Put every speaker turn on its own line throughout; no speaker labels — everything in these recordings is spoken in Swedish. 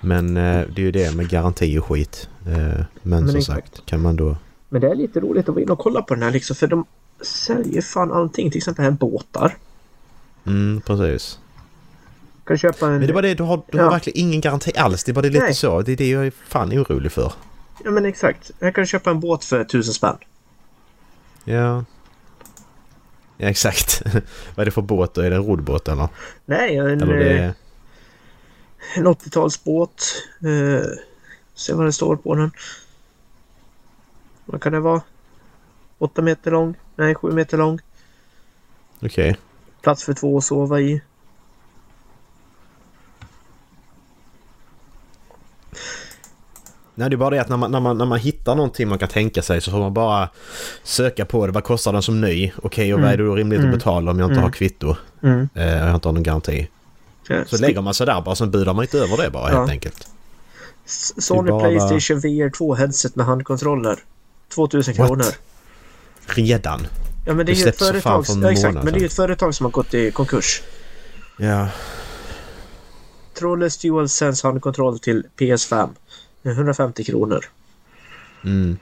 Men eh, det är ju det med garanti och skit. Eh, men,
Men
som
exakt.
sagt, kan man då...
Men det är lite roligt att vara inne och kolla på den här liksom för de säljer fan allting. Till exempel här båtar.
Mm, precis.
Kan du köpa en...
Men det är bara det, du har, du har
Ja.
verkligen ingen garanti alls. Det är bara det lite
Nej.
så. Det är det jag är fan orolig för.
Ja men exakt. Här kan du köpa en båt för tusen spänn.
Ja. Ja, exakt. Vad är det för båt då? Är det en roddbåt eller?
Nej, en,
Eller det är...
eh, en 80-talsbåt. Eh, se vad det står på den. Vad kan det vara? 8 meter lång? Nej, 7 meter lång.
Okej.
Plats för två att sova i.
Nej, det är bara det att när man, när, man, när man hittar någonting man kan tänka sig så får man bara söka på det. Vad kostar den som ny? Okej, och vad är det då rimligt att betala om jag inte har kvitto?
Mm.
Eh, och jag inte har någon garanti.
Ja,
Så lägger man sig där bara, sen budar man inte över det bara
Ja.
helt enkelt.
S- Sony
Det är bara-
Playstation VR 2 headset med handkontroller. 2000
What?
kronor.
Redan.
Ja men det
Det
är ju ett
släpps för fan
företag,
för en
ja, exakt,
månad
men det är ju
sedan.
ett företag som har gått i konkurs.
Ja.
Trådlös DualSense handkontroll till PS5. 150 kronor.
Mm.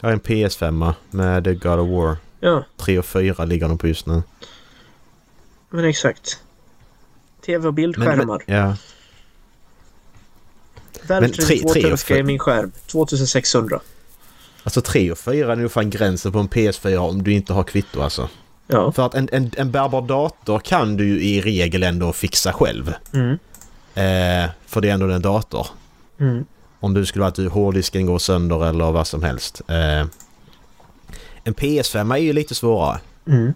Jag har en PS5 med God of War.
Ja,
3 och 4 ligger de på just nu.
men exakt. TV och bildskärmar.
ja.
Valve
men tre- tre och
32-tums
fem-
gamingskärm. 2600.
Alltså 3 och 4 är nog fan gränsen på en PS4 om du inte har kvitto alltså.
Ja.
För att en, en, en bärbar dator kan du ju i regel ändå fixa själv.
Mm.
Eh, för det är ändå en dator.
Mm.
Om du skulle ha att du- hårddisken går sönder eller vad som helst. Eh, en PS5 är ju lite svårare.
Mm.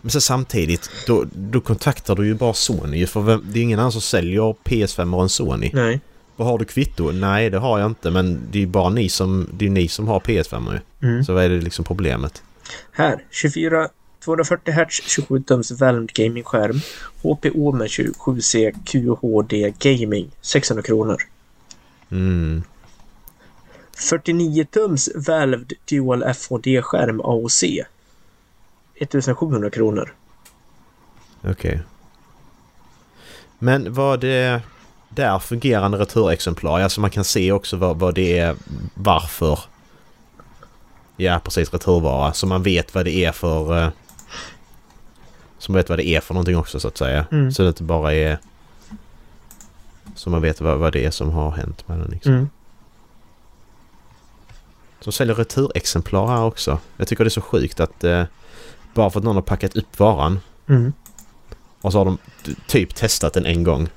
Men sen samtidigt, då, då kontaktar du ju bara Sony ju, för vem, det är ju ingen annan som säljer PS5 än Sony.
Nej.
Vad har du kvitto? Nej, det har jag inte, men det är ju bara ni som, det är ni som har PS5 ju.
Mm.
Så vad är det liksom problemet?
Här. 24 240 Hz 27-tums Valve gamingskärm. HPO med 27C QHD gaming. 600 kronor.
Mm.
49-tums Valve Dual FHD-skärm AOC. 1700 kronor.
Okej. Men var det där fungerande returexemplar? Alltså man kan se också vad, vad det är, varför. Ja, precis, returvara. Så man vet vad det är för... eh, Så man vet vad det är för någonting också så att säga.
Mm.
Så det inte bara är... Så man vet vad, vad det är som har hänt med den. Liksom.
Mm.
De säljer returexemplar här också. Jag tycker det är så sjukt att... Eh, bara för att någon har packat upp varan
Mm.
och så har de t- typ testat den en gång.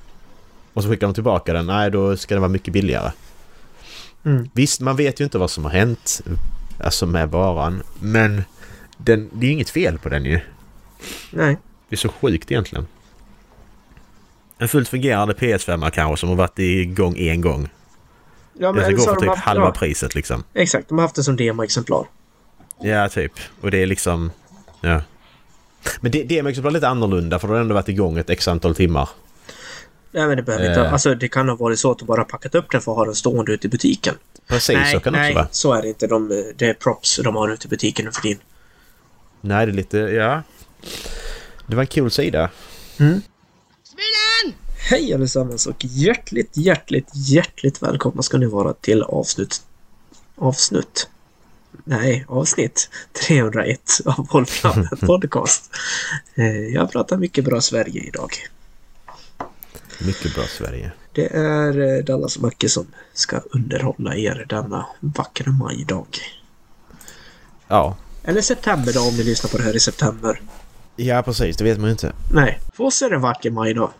Och så skickar de tillbaka den. Nej, då ska den vara mycket billigare.
Mm.
Visst, man vet ju inte vad som har hänt. Alltså med varan. Men den, det är ju inget fel på den ju.
Nej.
Det är så sjukt egentligen. En fullt fungerande PS5 kanske som har varit igång en gång.
Ja,
Den ska
eller så
gå
har
för
de
typ
haft-
halva
ja,
priset liksom.
Exakt, de har haft det som demoexemplar.
Ja, typ. Och det är liksom... Ja. Men det, det är också lite annorlunda för då har den ändå varit igång ett x antal timmar.
Nej men det behöver inte.
Eh.
Alltså det kan ha varit så att de bara packat upp den för att ha den stående ute i butiken.
Precis, så kan det också
nej,
vara.
så är det inte. De, eh, det är props de har ute i butiken nu för din.
Nej, det är lite... Ja. Det var en kul sida.
Hej allesammans och hjärtligt, hjärtligt, hjärtligt välkomna ska ni vara till avsnitt... Avsnitt? Nej, avsnitt 301 av Wolfram Podcast. Eh, Jag pratar mycket bra Sverige idag.
Mycket bra Sverige.
Det är eh, Dallas och Macke som ska underhålla er denna vackra majdag.
Ja.
Eller september då om ni lyssnar på det här i september.
Ja, precis. Det vet man ju inte.
Nej, för oss är det en vacker majdag.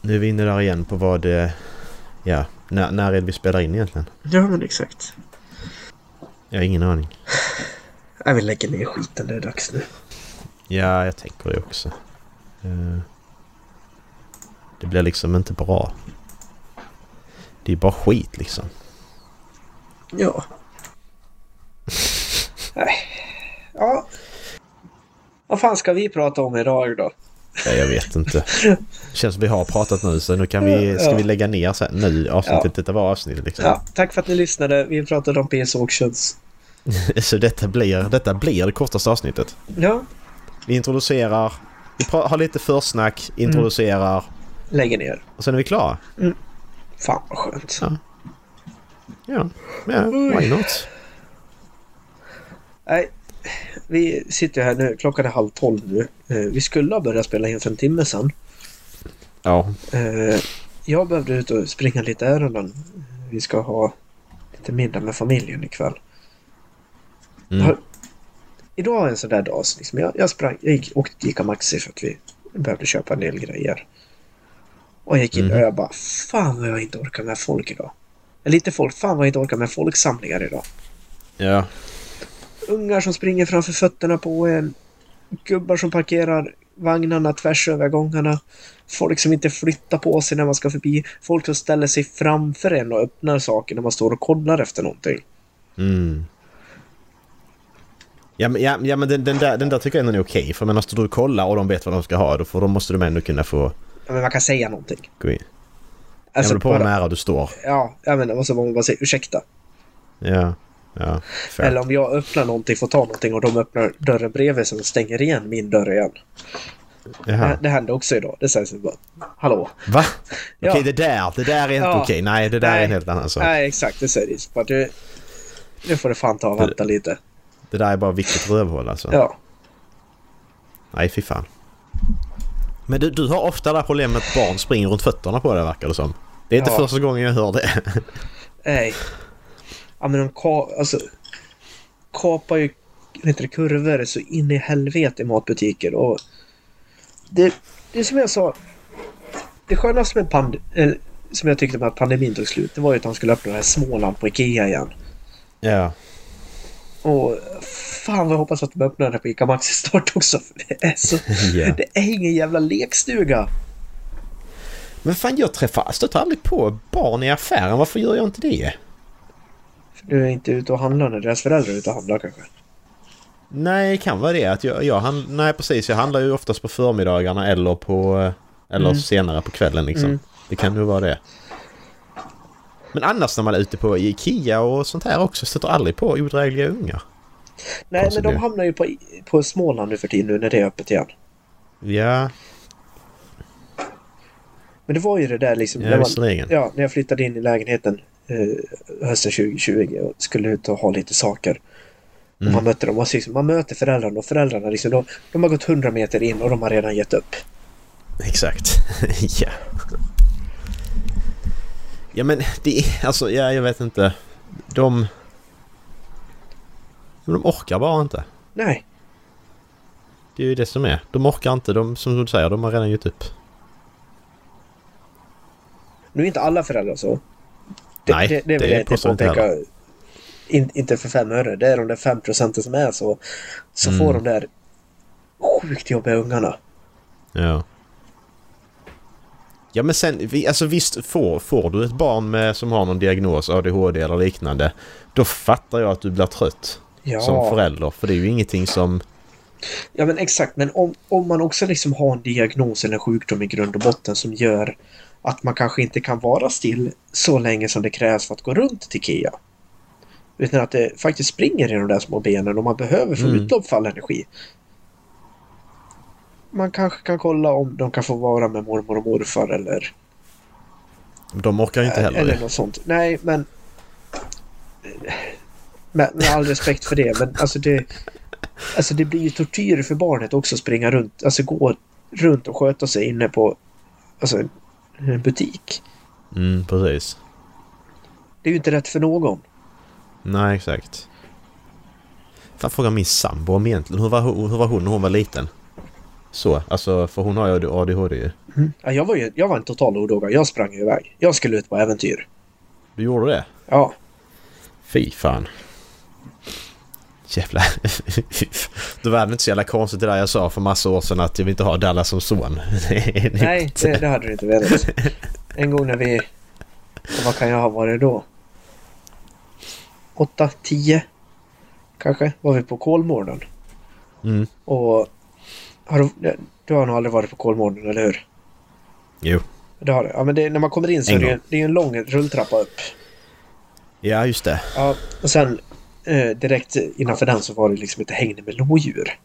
Nu är vi inne där igen på vad... eh, Ja, när, när är det vi spelar in egentligen?
Ja men exakt.
Jag har ingen aning.
Jag vill lägga Äh, ner skiten, det är dags nu.
Ja, jag tänker det också. Eh, Det blir liksom inte bra. Det är bara skit liksom.
Ja. Nej. Ja. Vad fan ska vi prata om idag då?
Ja, jag vet inte. Det känns som vi har pratat nu så nu kan vi... Ska
Ja.
vi lägga ner så här, nu avsnittet?
Ja.
Detta var avsnittet liksom.
Ja, tack för att ni lyssnade. Vi pratade om PS Auctions.
Så detta blir, detta blir det kortaste avsnittet.
Ja, Mm.
Vi introducerar, vi pra- har lite försnack, introducerar,
lägger ner.
Och sen är vi klara.
Fan vad skönt.
Ja. Ja, ja why not?
Nej, vi sitter ju här nu. Klockan är halv tolv nu. Eh, Vi skulle ha börjat spela in för en timme sedan.
Ja,
Eh, Jag behövde ut och springa lite ärenden. Vi ska ha lite middag med familjen ikväll.
Mm.
Har- Idag är en sån där dag. så Liksom. Jag, jag sprang, jag gick, åkte till Ica Maxi för att vi behövde köpa en del grejer. Och jag gick in
Mhm.
och jag bara, fan vad jag inte orkar med folk idag. Eller inte folk, fan vad jag inte orkar med folksamlingar idag.
ja,
Ungar som springer framför fötterna på en. Gubbar som parkerar vagnarna tvärs över gångarna. Folk som inte flyttar på sig när man ska förbi. Folk som ställer sig framför en och öppnar saker när man står och kollar efter någonting.
mm. Ja men, ja, ja, men den, den, där, den där tycker jag ändå är okej. För men alltså du kollar och de vet vad de ska ha då, får, då måste du ändå kunna få
Ja, men man kan säga någonting.
gå in.
Alltså,
jag vill på hur
bara,
nära du står.
ja, jag menar, och så får man bara säga ursäkta.
Ja, ja. fair.
Eller om jag öppnar någonting, får ta någonting och de öppnar dörren bredvid så de stänger igen min dörr igen.
Jaha.
Det, det hände också idag. Det sägs bara, hallå.
Va? Okej,
Ja.
det där. Det där är inte
Ja.
okej. Nej, det där är en
Nej.
helt annan sak.
Nej, exakt. Det säger det. Bara, du, nu får du fan ta och vänta lite.
Det där är bara viktigt rövhål alltså.
Ja.
Nej, fy fan. Men du, du har ofta det här problemet att barn springer runt fötterna på dig verkar det som. Det är inte
Ja.
första gången jag hör det.
Nej. Ja men de ka- alltså, kapar ju vet du, kurvor så in i helvete i matbutiker. Och det, det är som jag sa. Det skönaste med pand- eller, som jag tyckte med att pandemin tog slut det var ju att de skulle öppna den här Småland på Ikea igen.
Ja.
Och fan vad jag hoppas att de öppnar den här på Ica Maxi snart också. För det, är så,
Ja.
det är ingen jävla lekstuga.
Men fan, jag träffar, jag stöter aldrig på barn i affären. Varför gör jag inte det?
För du är inte ute och handlar när deras föräldrar är ute och handlar kanske.
Nej, det kan vara det. Att jag, jag hand, nej, precis. Jag handlar ju oftast på förmiddagarna eller på... eh, Eller senare på kvällen liksom. Det kan nog vara det. Men annars när man är ute på Ikea och sånt här också stöter aldrig på odrägliga ungar.
Nej men
Konstigt
de
ju.
hamnar ju på, på Småland nu för tiden nu när det är öppet igen.
Ja,
Men det var ju det där liksom.
ja
när, man,
visserligen.
ja, när jag flyttade in i lägenheten eh, hösten 2020 och skulle ut och ha lite saker.
Mm.
Och man mötte dem och så liksom, man möter föräldrarna och föräldrarna liksom, de, de har gått 100 meter in och de har redan gett upp.
Exakt. ja. Ja men det är alltså, ja, jag vet inte. De... De orkar bara inte.
Nej,
Det är ju det som är. De orkar inte. De, som du säger, de har redan gett upp.
nu är inte alla föräldrar så. Det,
Nej,
det, det vill
det
jag inte
påstår jag inte
påpeka. In, inte för fem öre. Det är de där fem procenten som är så. Så får
Mm.
de där sjukt jobbiga ungarna.
Ja. Ja men sen, vi, alltså visst får, får du ett barn med, som har någon diagnos, ADHD eller liknande. Då fattar jag att du blir trött
Ja.
som förälder. För det är ju ingenting som...
Ja men exakt, men om, om man också liksom har en diagnos eller en sjukdom i grund och botten som gör att man kanske inte kan vara still så länge som det krävs för att gå runt till Ikea. Utan att det faktiskt springer i de där små benen och man behöver få
Mm.
utlopp för all energi. Man kanske kan kolla om de kan få vara med mormor och morfar eller,
De orkar ju inte heller
eller
det.
något sånt. Nej, men... Med, med all respekt för det, men alltså det... Alltså det blir ju tortyr för barnet också att springa runt, alltså gå runt och sköta sig inne på alltså, en- en butik.
Mm, precis.
Det är ju inte rätt för någon.
Nej, exakt. Fan, fråga min sambo om egentligen. Hur var, hon- hur var hon när hon var liten? Så, alltså för hon har ju ADHD ju.
Ja, jag, var ju, jag var en total odåga, jag sprang ju iväg. Jag skulle ut på äventyr.
Du gjorde det?
Ja,
Fy fan. Jävlar. Då var det inte så jävla konstigt det där jag sa för massa år sedan att jag vill inte ha Dallas som son. Det är inte-
nej, det, det hade du inte velat. En gång när vi... och Vad kan jag ha varit då? Åtta, tio kanske, var vi på Kolmården.
Mm.
Och har du, du har nog aldrig varit på Kolmården, eller hur?
Jo.
Det har du. Ja, men det, när man kommer in så
En
är det, ju,
gång.
det är ju en lång rulltrappa upp.
Ja, just det.
Ja, och sen eh, direkt innanför den så var det liksom ett hägn med lodjur.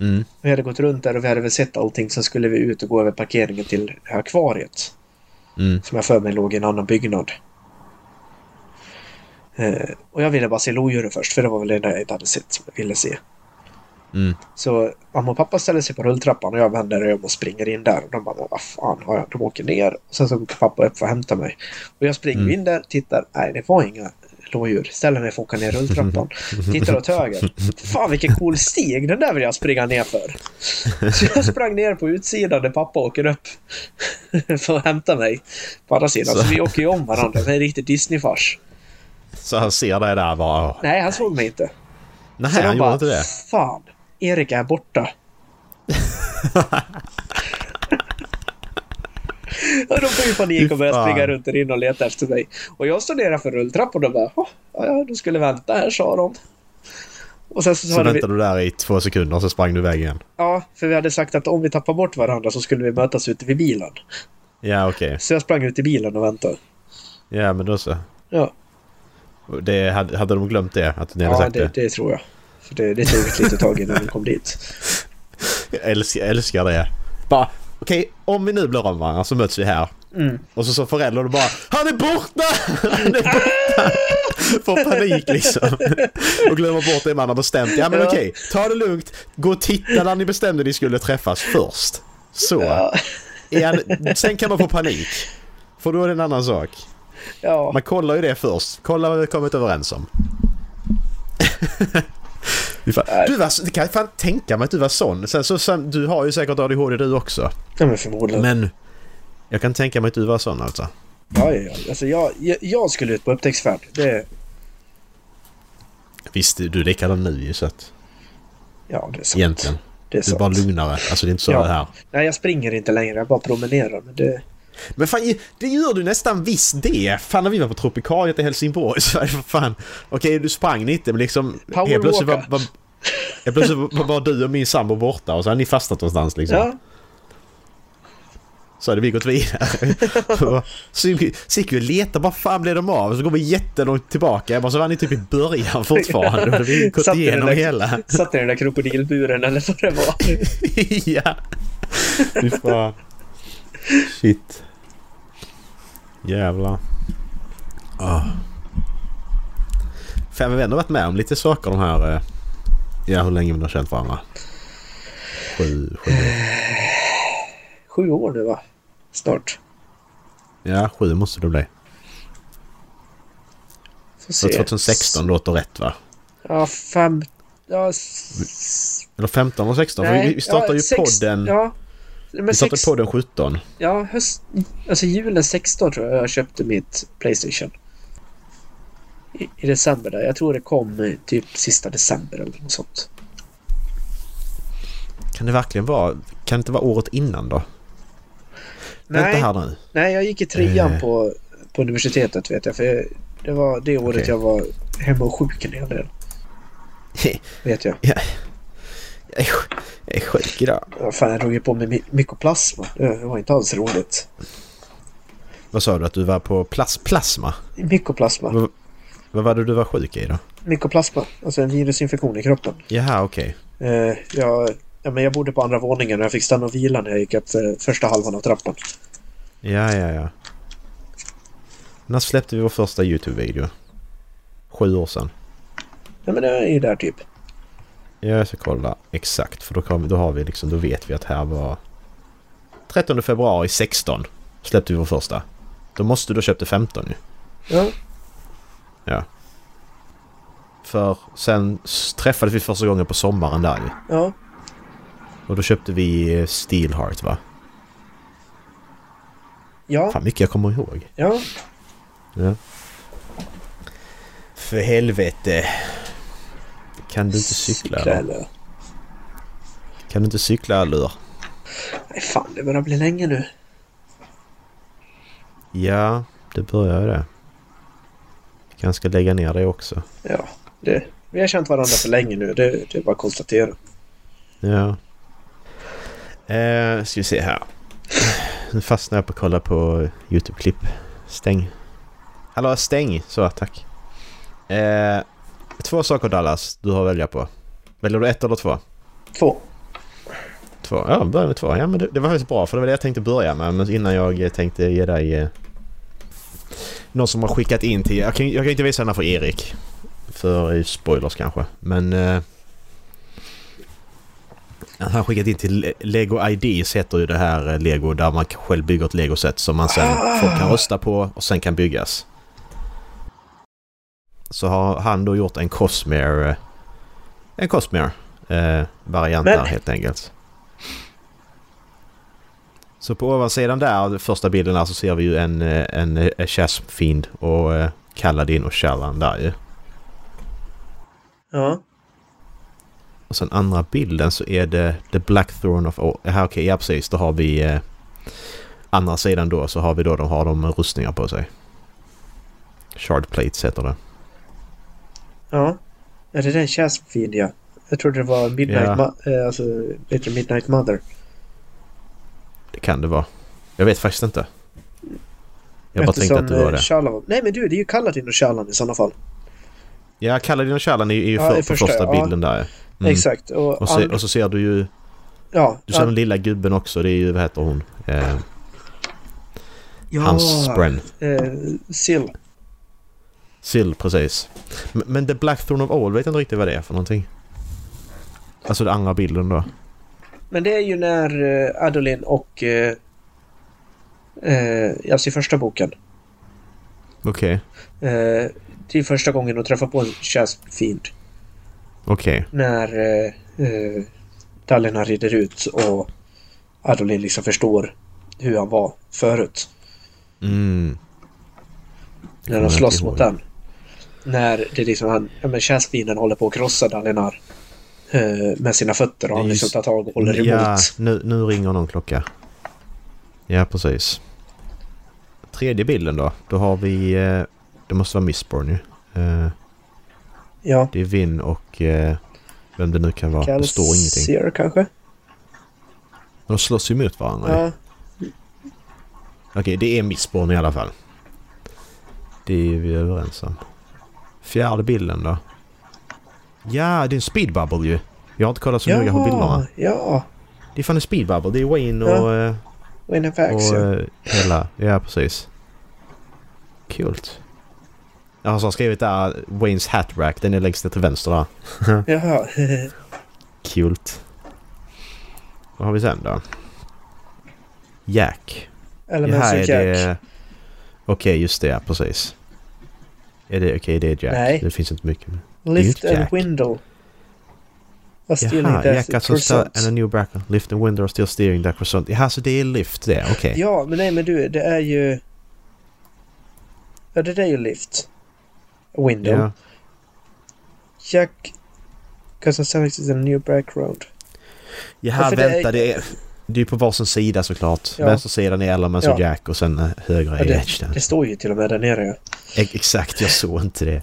Mm.
Vi hade gått runt där och vi hade väl sett allting. Sen skulle vi ut och gå över parkeringen till akvariet.
Mm.
Som jag för mig låg i en annan byggnad. Eh, och jag ville bara se lodjuren först, för det var väl det enda jag inte hade sett som jag ville se.
Mm.
Så mamma och pappa ställer sig på rulltrappan och jag vänder mig om och springer in där. Och de bara, vad fan har jag? De åker ner. Och sen så går pappa upp för att hämta mig. Och jag springer
Mm.
in där, tittar, nej det var inga lodjur. Ställer mig för att åka ner rulltrappan. Tittar åt höger. Fan vilken cool stig, den där vill jag springa ner för. Så jag sprang ner på utsidan där pappa åker upp. För att hämta mig. På andra sidan. Så,
Så-
vi åker ju om varandra. Det är en riktig Disney-fars.
Så han ser dig där bara... "Åh,
Nej, han såg mig inte.
Nej,
Så
han
de
gjorde
bara,
inte det.
fan, Erik är borta. och de får ju panik och börjar
Fan.
springa runt där inne och leta efter mig. Och jag står nere för rulltrappan och bara, "Åh, ja, ja, du skulle vänta här, sa de. Och sen så,
Så
hade vi,
väntade du där i två sekunder och så sprang du iväg igen.
ja, för vi hade sagt att om vi tappar bort varandra så skulle vi mötas ute vid bilen.
Ja, okej.
Så jag sprang ut i bilen och väntade.
Ja, men då så.
Ja,
Och Det, hade, hade de glömt det? Att ni hade
ja
sagt
det,
det?
det tror jag. För det, det tog ett litet tag innan vi kom dit.
Jag älskar, jag älskar det. Bara, okej, om vi nu blir om varandra så möts vi här. Och så som förälder och bara Han är borta! Han är borta! Får panik liksom. Och glömmer bort det man har bestämt. Ja men
Ja.
okej, ta det lugnt. Gå och titta när ni bestämde ni skulle träffas först. Så.
Ja,
Är han- Sen kan man få panik. För då är det en annan sak.
ja.
Man kollar ju det först. Kolla vad vi har kommit överens om. Du, fan, du var, så- det kan jag fan tänka mig att du var sån. Sen så, sen, du har ju säkert ADHD du också.
ja men förmodligen.
Men jag kan tänka mig att du var sån alltså.
Ja, ja, ja. Alltså jag, jag, jag skulle ut på upptäcktsfärd. Det,
Visst, du är likadan nu ju så att
ja, det är sant.
egentligen. Du
Det är
är
sant.
bara lugnare. Alltså det är inte så
Ja.
det här.
Nej, jag springer inte längre. Jag bara promenerar. Men det,
Men fan, det gör du nästan visst det. Fan när vi var på Tropikariet i Helsingborg så var det för fan. Okej, du sprang lite men liksom...
Powerwalka.
helt plötsligt var, var, helt plötsligt var, var du och min sambo borta och så hade ni fastnat någonstans liksom.
ja,
Så hade vi gått vidare. så gick så gick vi och letade, vad fan blev de av? Så går vi jättelångt tillbaka. Jag bara, så var ni typ i början fortfarande. Då hade vi gått
Satt i den
igenom
där-
hela.
satt i den där krokodilburen eller vad det var.
ja. Fy fan. Shit. Jävlar. Oh. För vi har ändå varit med om lite saker de här... eh, Ja, hur länge vi har känt varandra. Sju, sju.
Sju år nu va? Snart.
Ja, sju måste det bli.
Får
Så
se.
2016 låter rätt va?
Ja, fem... Ja, s-
Eller 15 och 16? för vi- vi startade
ja,
ju
sex-
podden...
Ja, men
vi startade
sex,
podden 17.
Ja, höst... Alltså julen 16 tror jag jag köpte mitt Playstation. I, i december där. Jag tror det kom eh, typ sista december eller något sånt.
Kan det verkligen vara... Kan det inte vara året innan då? Vänta
Nej,
här nu.
nej jag gick i trean
Eh.
på, på universitetet vet jag. För jag- det var det året
Okej.
jag var hemma och sjuk en hel del. Vet jag.
Jag är sj- jag är sjuk idag.
Ja, Fan, jag drog ju på mig my- mykoplasma. Det var inte alls roligt.
Vad sa du att du var på plas plasma?
Mykoplasma.
Vad- Vad var det du var sjuk i då?
Mykoplasma. Alltså en virusinfektion i kroppen.
Jaha, okej.
Eh, jag, ja, men jag bodde på andra våningen och jag fick stanna och vila när jag gick upp för första halvan av trappan.
Ja, ja, ja. När släppte vi vår första YouTube-video? Sju år sedan.
Ja, men det är ju där typ.
Ja, jag ska kolla exakt för då, kan, vi- då har vi liksom, då vet vi att här var... 13 februari 16 släppte vi vår första. Då måste du ha köpt det 15 ju.
Ja,
Ja. För sen s- träffades vi första gången på sommaren där ju.
ja.
Och då köpte vi eh, Steelheart va?
Ja,
Fan mycket jag kommer ihåg.
ja.
För helvete. Kan du inte cykla? eller?
eller?
Kan du inte cykla eller?
Nej, fan, det börjar bli länge nu.
Ja, det börjar ju det. Kanske lägga ner det också.
Ja, det, vi har känt varandra för länge nu. Det, det är bara att konstatera.
Ja. Eh, ska vi se här. Nu fastnar jag på att kolla på YouTube-klipp. Stäng. Hallå, stäng! Så, tack. Eh, två saker Dallas du har att välja på. Väljer du ett eller två?
Två.
två. Ja, börja med två. Ja, men det, det var faktiskt bra för det var det jag tänkte börja med. Men innan jag eh, tänkte ge dig... Eh, någon som har skickat in till... Jag kan, jag kan inte visa den här för Erik. För eh, spoilers kanske. Men... Eh, han har skickat in till Le- Lego Ideas heter ju det här eh, Lego där man själv bygger ett Lego-set som man sen folk kan rösta på och sen kan byggas. Så har han då gjort en Cosmere... eh, En Cosmere eh, variant
Men-
där helt enkelt. Så på ovansidan där, den första bilden där, så ser vi ju en, eh, en, eh, en Chasm Fiend och eh, Kaladin och Shallan där ju.
Ja.
Och sen andra bilden så är det The Blackthorn of... Oh, här, okej, ja precis. Då har vi... Eh, andra sidan då så har vi då de har de rustningar på sig. Shard plates heter det.
Ja. Är det den Chasmfield ja? Jag trodde det var Midnight,
Ja.
Ma- eh, alltså, heter det Midnight Mother.
Det kan det vara. Jag vet faktiskt inte. Jag bara tänkte
Eftersom,
att det var
eh,
det.
Shalom- Nej men du, det är ju Kaladin och Shallan i sådana fall.
Ja, Kaladin och Shallan är ju
Ja,
för, på
det förstår
första
jag, ja.
bilden där. Mm.
Exakt. Och,
Och, så,
and-
och så ser du ju...
ja,
Du ser
an-
den lilla gubben också. Det är ju... Vad heter hon? Eh,
ja,
Hans Spren.
eh, Sill.
Sill, precis. Men, men The Blackthorn of All vet jag inte riktigt vad det är för någonting. Alltså den andra bilden då.
Men det är ju när eh, Adolin och... Eh, eh, alltså i första boken.
Okej.
Eh, det är första gången de träffar på en Chasmfield.
Okej.
när eh, eh, Dallena rider ut och Adolin liksom förstår hur han var förut.
Mm.
När
kommer
de
jag
slåss
inte
mot
ihåg.
den. När det liksom han, ja men Chasvinen håller på att krossa Dalinar eh, med sina fötter och han
Det är
liksom
just-
tar tag och håller emot.
Ja, nu, nu ringer någon klocka. Ja, precis. Tredje bilden då. Då har vi... eh, Det måste vara Missborn ju. Eh,
Ja,
Det är Vinn och... eh, Vem det nu kan vara. Det står ingenting.
Calcier kanske?
De slåss ju mot varandra. ju.
Ja.
Okej, det är Missborn i alla fall. Det är vi överens om. Fjärde bilden då. Ja, det är en speedbubble ju. Jag har inte kollat så noga på bilderna.
Ja, ja.
Det är fan en speedbubble. Det är Wayne och...
Ja.
eh,
Winnifax
Och
ja.
eh, hela, ja precis. Kul. Jag har så skrivit där Waynes hat rack, den är längst ner till vänster där.
Jaha.
Kul. Vad har vi sen då? Jack.
Elements of Jack.
det... Okej, just det, ja, precis. Är det okej, det är Jack.
Nej.
Det finns inte mycket. mer. är ju
Lift
inte
and
Jack.
Window. Are stealing
Jaha,
death
Jack alltså sta-
percent.
and a new bracket. Lift and window are still steering that crescent. Jaha, så det är lift det, okej.
Ja, men nej men du, det är ju... Ja, det där är ju Lift. Window.
Ja.
Jack... Custom Sonics is a new background.
Jaha,
Ja, för det är-
vänta. Det är, det är ju på varsin sida såklart.
Ja.
Vänstersidan är Elements
Ja.
och Jack och sen eh, högra
Ja,
är Edge.
Det står ju till och med där nere ja.
E- Exakt, jag såg inte det.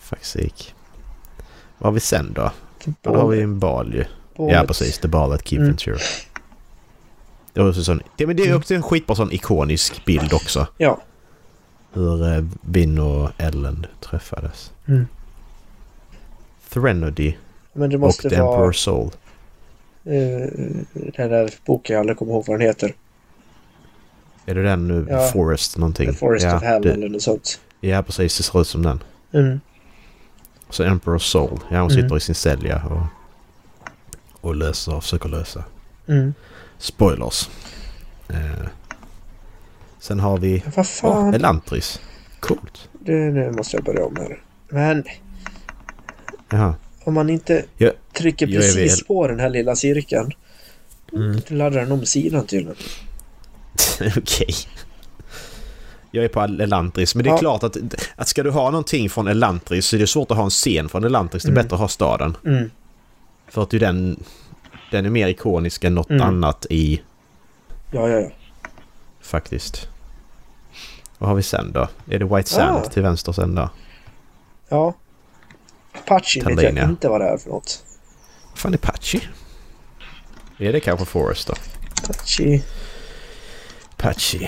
Faktiskt. Vad har vi sen då? Då har vi en bal ju.
Bullet.
Ja, precis. The ball that keeps
Mm.
mm. sure. Det, var också sån, det, men det är också en skitbra sån ikonisk bild också.
Ja.
Hur eh, Vin och Ellen träffades.
Mm.
Threnody
Men det
och
måste
The
vara...
Emperor's Soul.
eh, den där boken, jag aldrig kommer ihåg vad den heter.
Är det den nu?
Ja.
Forest någonting?
The Forest
ja,
of Hell
det-
eller något sånt.
Ja, precis. Det ser ut som den.
Mm.
Och så Emperor's Soul. Ja, hon
Mm.
sitter i sin cell ja, och, och löser, försöker lösa.
Mm.
Spoilers. Eh. Sen har vi...
Men Vad
Åh,
fan.
Elantris. Coolt.
det, nu måste jag börja om här. Men
Jaha.
om man inte
Ja,
trycker
jag är
precis
väl-
på den här lilla cirkeln.
Mm.
Då laddar den om sidan tydligen.
Okej. Jag är på El- Elantris, men det är
Ja.
klart att, att ska du ha någonting från Elantris så är det svårt att ha en scen från Elantris. Det är
Mm.
bättre att ha staden.
Mm.
För att ju den, den är mer ikonisk än något
Mm.
annat i
Ja, ja, ja.
faktiskt. Vad har vi sen då? Är det White Sand
Ah.
till vänster sen då?
Ja. Patchy vet jag
Tallinia.
inte vad det är för något.
Vad fan är Patchy? Är det kanske Forrest då?
Patchy.
Patchy.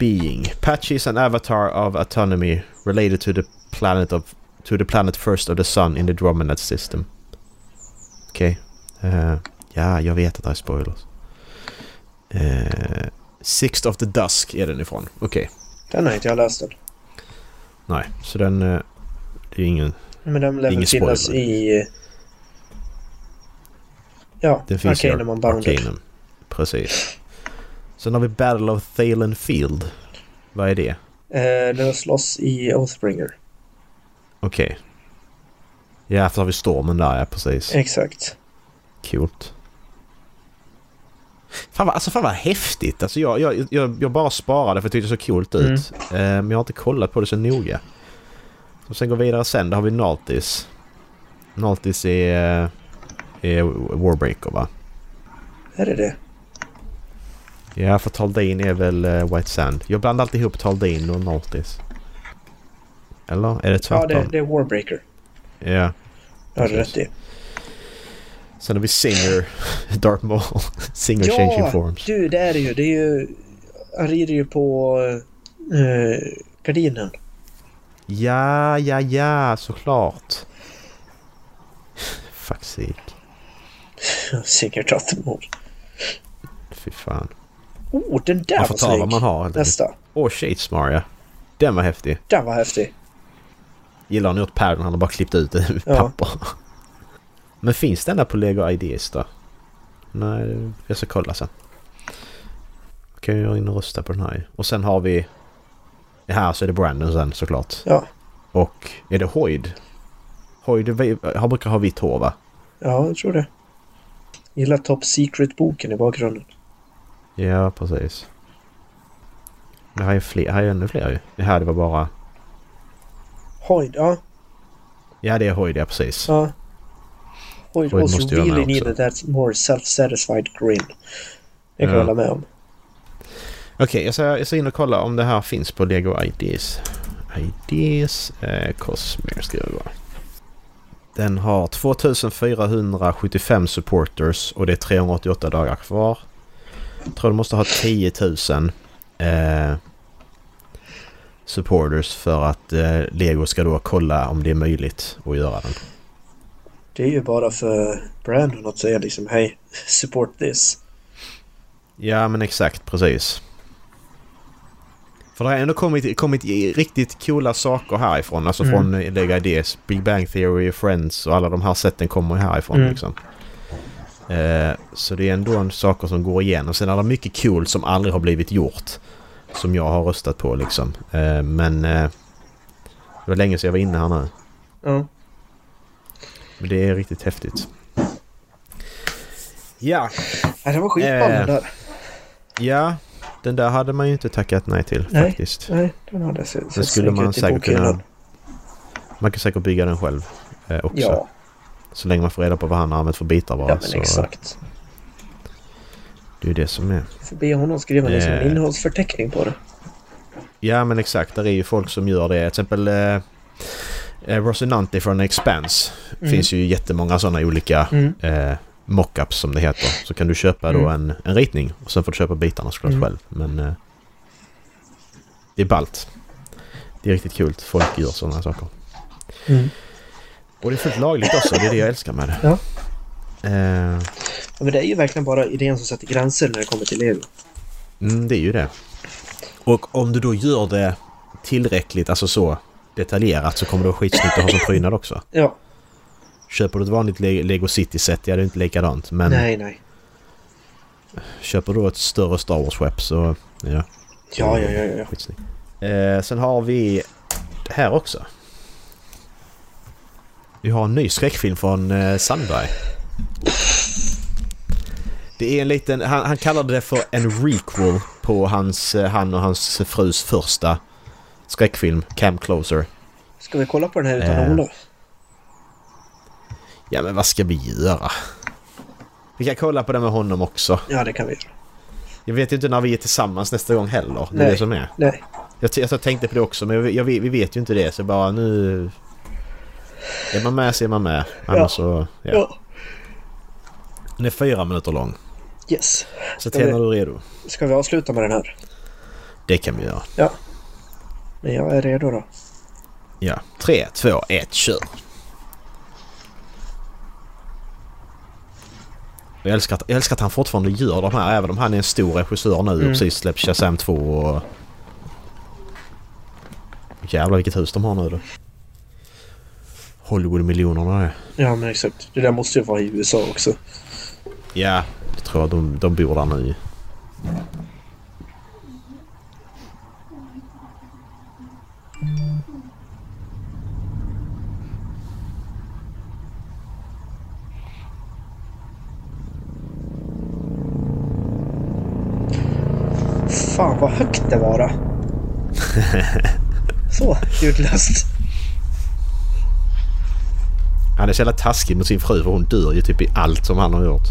Being. Patchy is an avatar of autonomy related to the planet of... To the planet first of the sun in the Dromonet system. Okej. Okay. Uh, Ja, jag vet att det är spoilers. Eh, Sixth of the Dusk är den ifrån. Okej.
Den har inte jag läst än.
Nej, så den... eh, Det är ingen...
Men den lär väl
Ingen
finnas
spoiler.
i... Ja,
Den finns
Arcanum
ju.
Unbounded.
Arcanum. Precis. Sen har vi Battle of Thalen Field. Vad är det?
Eh, den slåss i Oathbringer.
Okej. Ja, för så har vi stormen där, ja precis.
Exakt.
Coolt. Fan vad, alltså fan vad häftigt. Alltså jag, jag, jag, jag bara sparade för jag tyckte det såg coolt ut.
Mm.
Eh, men jag har inte kollat på det så noga. Och sen går vi vidare sen. Där har vi Naltis. Naltis är, eh, är Warbreaker va?
Här är det.
Ja för Taldin är väl eh, White Sand. Jag blandar alltid ihop Taldin och Naltis. Eller? Är det
Ja,
tvärtom?
det, det är Warbreaker.
Ja.
Det har du
Precis.
rätt i.
Sen har vi Singer. Darth Maul. Singer changing
Ja,
forms.
du, det är det ju. Det är ju... Han rider ju på eh, gardinen.
Ja, ja, ja, såklart. Fuck sake.
Singer Trattemor.
Fy fan.
Oh, den där
Man
var
får ta vad
snygg!
man har helt enkelt.
Nästa.
Åh, Shades Maria. Den var häftig.
Den var häftig.
Gillar han gjort päron, han har bara klippt ut det ur
Ja.
papper. Men finns den där på Lego Ideas då? Nej, jag ska kolla sen. Kan jag in och rösta på den här ju. Och sen har vi... Här så är det Brandon sen såklart.
Ja.
Och är det Hoyd? Hoyd är vi- han brukar ha vitt hår va?
Ja, jag tror det. Gillar Top Secret-boken i bakgrunden.
Ja, precis. Men här är, fler, här är ännu fler ju. Det här det var bara...
Hoyd, ja.
Ja, det är Hoyd, ja precis.
ja. Hoyd
Hoyd
also
måste ju vara
really
med
needed that more self-satisfied grin. Det kan
Ja.
jag hålla med om.
Okej, jag, ska, jag ska in och kolla om det här finns på Lego Ideas. Ideas eh, Cosmere ska det vara. Den har 2475 supporters och det är 388 dagar kvar. Jag tror de måste ha 10 000 eh, supporters för att eh, Lego ska då kolla om det är möjligt att göra den.
Det är ju bara för Brandon att säga liksom hej, support this.
Ja men exakt, precis. För det har ändå kommit, kommit i- riktigt coola saker härifrån. Alltså
Mm.
från eh, Lego Ideas, Big Bang Theory, Friends och alla de här sätten kommer ju härifrån
Mm.
liksom. Eh, så det är ändå en saker som går igen. Och sen är det mycket kul som aldrig har blivit gjort. Som jag har röstat på liksom. Eh, men eh, det var länge sedan jag var inne här nu.
Ja.
Men det är riktigt häftigt. Ja,
Nej, det var skitball
Eh.
den där.
ja. Den där hade man ju inte tackat nej till
Nej.
faktiskt.
Nej, den hade sett
Sen
sett
skulle
snygg
man
ut i
säkert kunna...
bokhyllan.
Man kan säkert bygga den själv eh, också. Alltså,
Ja,
Så länge man får reda på vad han har använt för bitar bara.
ja men
så,
exakt.
Det är ju det som är.
Får be honom skriva liksom en
Eh.
innehållsförteckning på det.
Ja men exakt, där är ju folk som gör det. Till exempel eh, eh, Rosinante från Expanse.
Mm.
finns ju jättemånga sådana olika
Mm.
eh, mockups som det heter. Så kan du köpa då en, en ritning och sen får du köpa bitarna såklart
Mm.
själv. Men eh, det är ballt. Det är riktigt kul. Folk gör sådana saker.
Mm.
Och det är fullt lagligt också. Det är det jag älskar med det.
Ja.
Eh,
Ja, men det är ju verkligen bara idén som sätter gränser när det kommer till Lego.
Mm, det är ju det. Och om du då gör det tillräckligt, alltså så detaljerat, så kommer det vara skitsnyggt att ha som prydnad också.
Ja,
Köper du ett vanligt Le- Lego City-set, ja det är inte likadant. Men
nej, nej.
köper du då ett större Star Wars-skepp så, ja,
Ja, ja, ja, ja. ja.
skitsnyggt. Eh, sen har vi det här också. Vi har en ny skräckfilm från eh, Sandberg. Det är en liten, han, han kallade det för en requel på hans, eh, han och hans frus första skräckfilm, Cam Closer.
Ska vi kolla på den här utan
Eh.
Ola?
Ja men vad ska vi göra? Vi kan kolla på det med honom också.
Ja, det kan vi göra.
Jag vet ju inte när vi är tillsammans nästa gång heller. Det är
Nej.
det som är.
Nej.
Jag, t- alltså, jag tänkte på det också men jag, jag, vi vet ju inte det så bara nu... Är man med så är man med. Annars
Ja.
så... Ja.
Ja.
Den är fyra minuter lång.
Yes.
Så
Ska vi-
Tena, du är redo?
Ska vi avsluta med den här?
Det kan vi göra.
Ja. Men jag är redo då.
Ja. Tre, två, ett, kör! Jag älskar, att, jag älskar att han fortfarande gör de här, även om han är en stor regissör nu och
Mm.
precis släppt Shazam 2 och... Jävlar vilket hus de har nu då. Hollywood-miljonerna det.
Ja, men exakt. Det där måste ju vara i USA också.
Ja, det tror jag de, de bor där nu.
Fan vad högt det var då. Så, ljudlöst.
Han är så jävla taskig mot sin fru för hon dör ju typ i allt som han har gjort.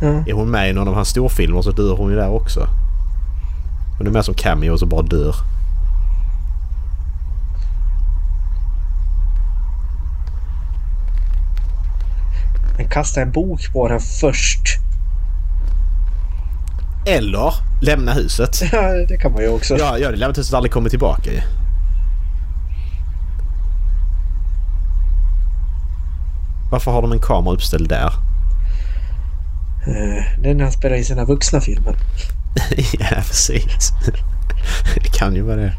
Ja.
Är hon med i någon av hans storfilmer så dör hon ju där också. Hon är med som cameo och så bara dör.
Men kasta en bok på den först.
Eller lämna huset.
Ja, det kan man ju också.
Ja, ja det lämnat huset aldrig kommer tillbaka ju. Varför har de en kamera uppställd där?
Eh, Det är när han spelar in sina vuxna filmer.
ja, precis. det kan ju vara det.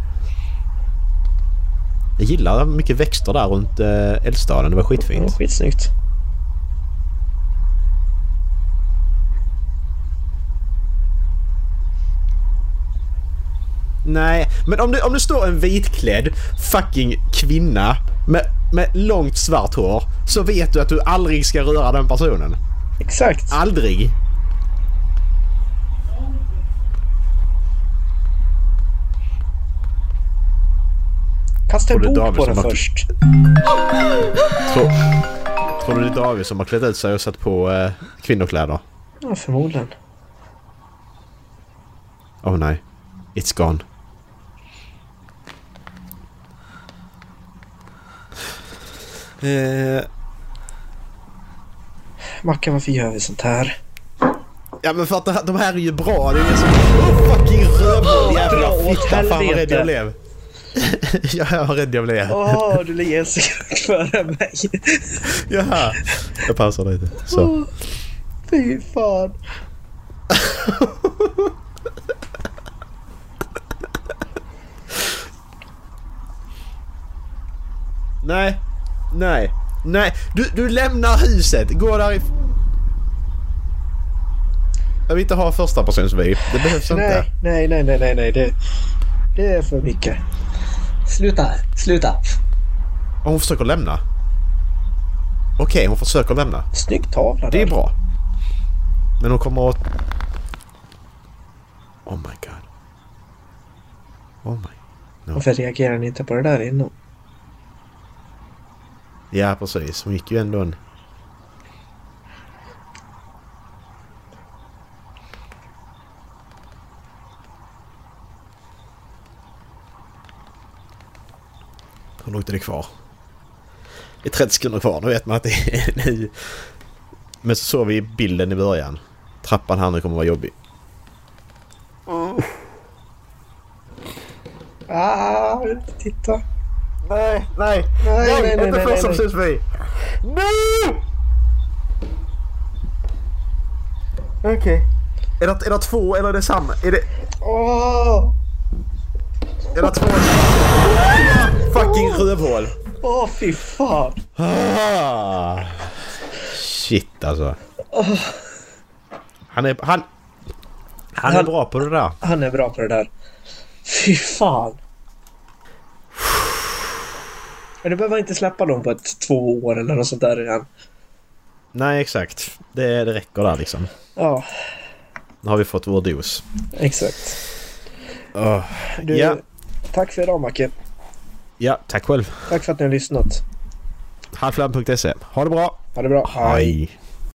Jag gillar mycket växter där runt eh, eldstaden. Det var
Ja,
skitfint.
skitsnyggt.
Nej, men om det, om det står en vitklädd fucking kvinna med, med långt svart hår så vet du att du aldrig ska röra den personen.
Exakt.
Aldrig.
Kasta en
Och det är
bok
David
på
som
den
har-
först.
Tror, tror du det är David som har klätt ut sig och satt på eh, kvinnokläder?
Ja, förmodligen.
Åh nej. It's gone. Eh,
Mackan, varför gör vi sånt här?
ja men för att det här, de här är ju bra. Det är ingen som... Oh, fucking rövhål jävla
Dra åt
fitta. Fan vad rädd
helvete.
jag blev. ja, vad rädd jag blev.
Åh, du ligger en sekund före mig.
Jaha. Jag pausar lite. Så.
Fy fan.
Nej. Nej. Nej. Du, du lämnar huset. Gå därifrån. Jag vill inte ha första persons vy. Det behövs inte.
Nej, nej, nej, nej, nej, nej. Det, det är för mycket. Sluta, sluta.
Och hon försöker lämna. Okej, hon försöker lämna.
Snygg tavla
Det är
där.
bra. Men hon kommer att... Oh my god. Oh my...
Varför reagerar ni inte på det där innan?
Ja, precis. Hon gick ju ändå en... Hur långt är det kvar? Det är 30 sekunder kvar. Nu vet man att det är nu. Men så såg vi bilden i början. Trappan här nu kommer vara jobbig.
Ah, titta.
Nej, nej,
Nej, nej, nej, inte nej, först nej, som
syns vi. Nej! Okej. Är, det, är det två eller är det samma? Är det,
Åh,
är det två Fucking rövhål!
åh fy fan.
Ah. Shit alltså. Han är, han, han är
Han-
bra på det där.
Han är bra på det där. Fy fan. Men du behöver inte släppa dem på ett två år eller något sånt där igen.
Nej exakt. Det, det räcker där liksom.
Ja,
Nu har vi fått vår dos.
exakt.
Ah.
Du,
Ja.
Tack för idag Macke.
Ja, tack själv.
Tack för att ni har lyssnat.
Halflab.se. E. Ha det bra!
Ha det bra.
Hej.